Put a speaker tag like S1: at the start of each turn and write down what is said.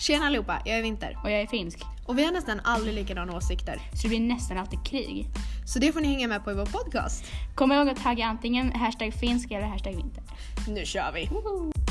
S1: Tjena allihopa, jag är Vinter.
S2: och jag är finsk.
S1: Och vi har nästan aldrig likadana åsikter.
S2: Så det blir nästan alltid krig.
S1: Så det får ni hänga med på i vår podcast.
S2: Kom ihåg att tagga antingen hashtag finsk eller hashtag vinter.
S1: Nu kör vi!
S2: Woho!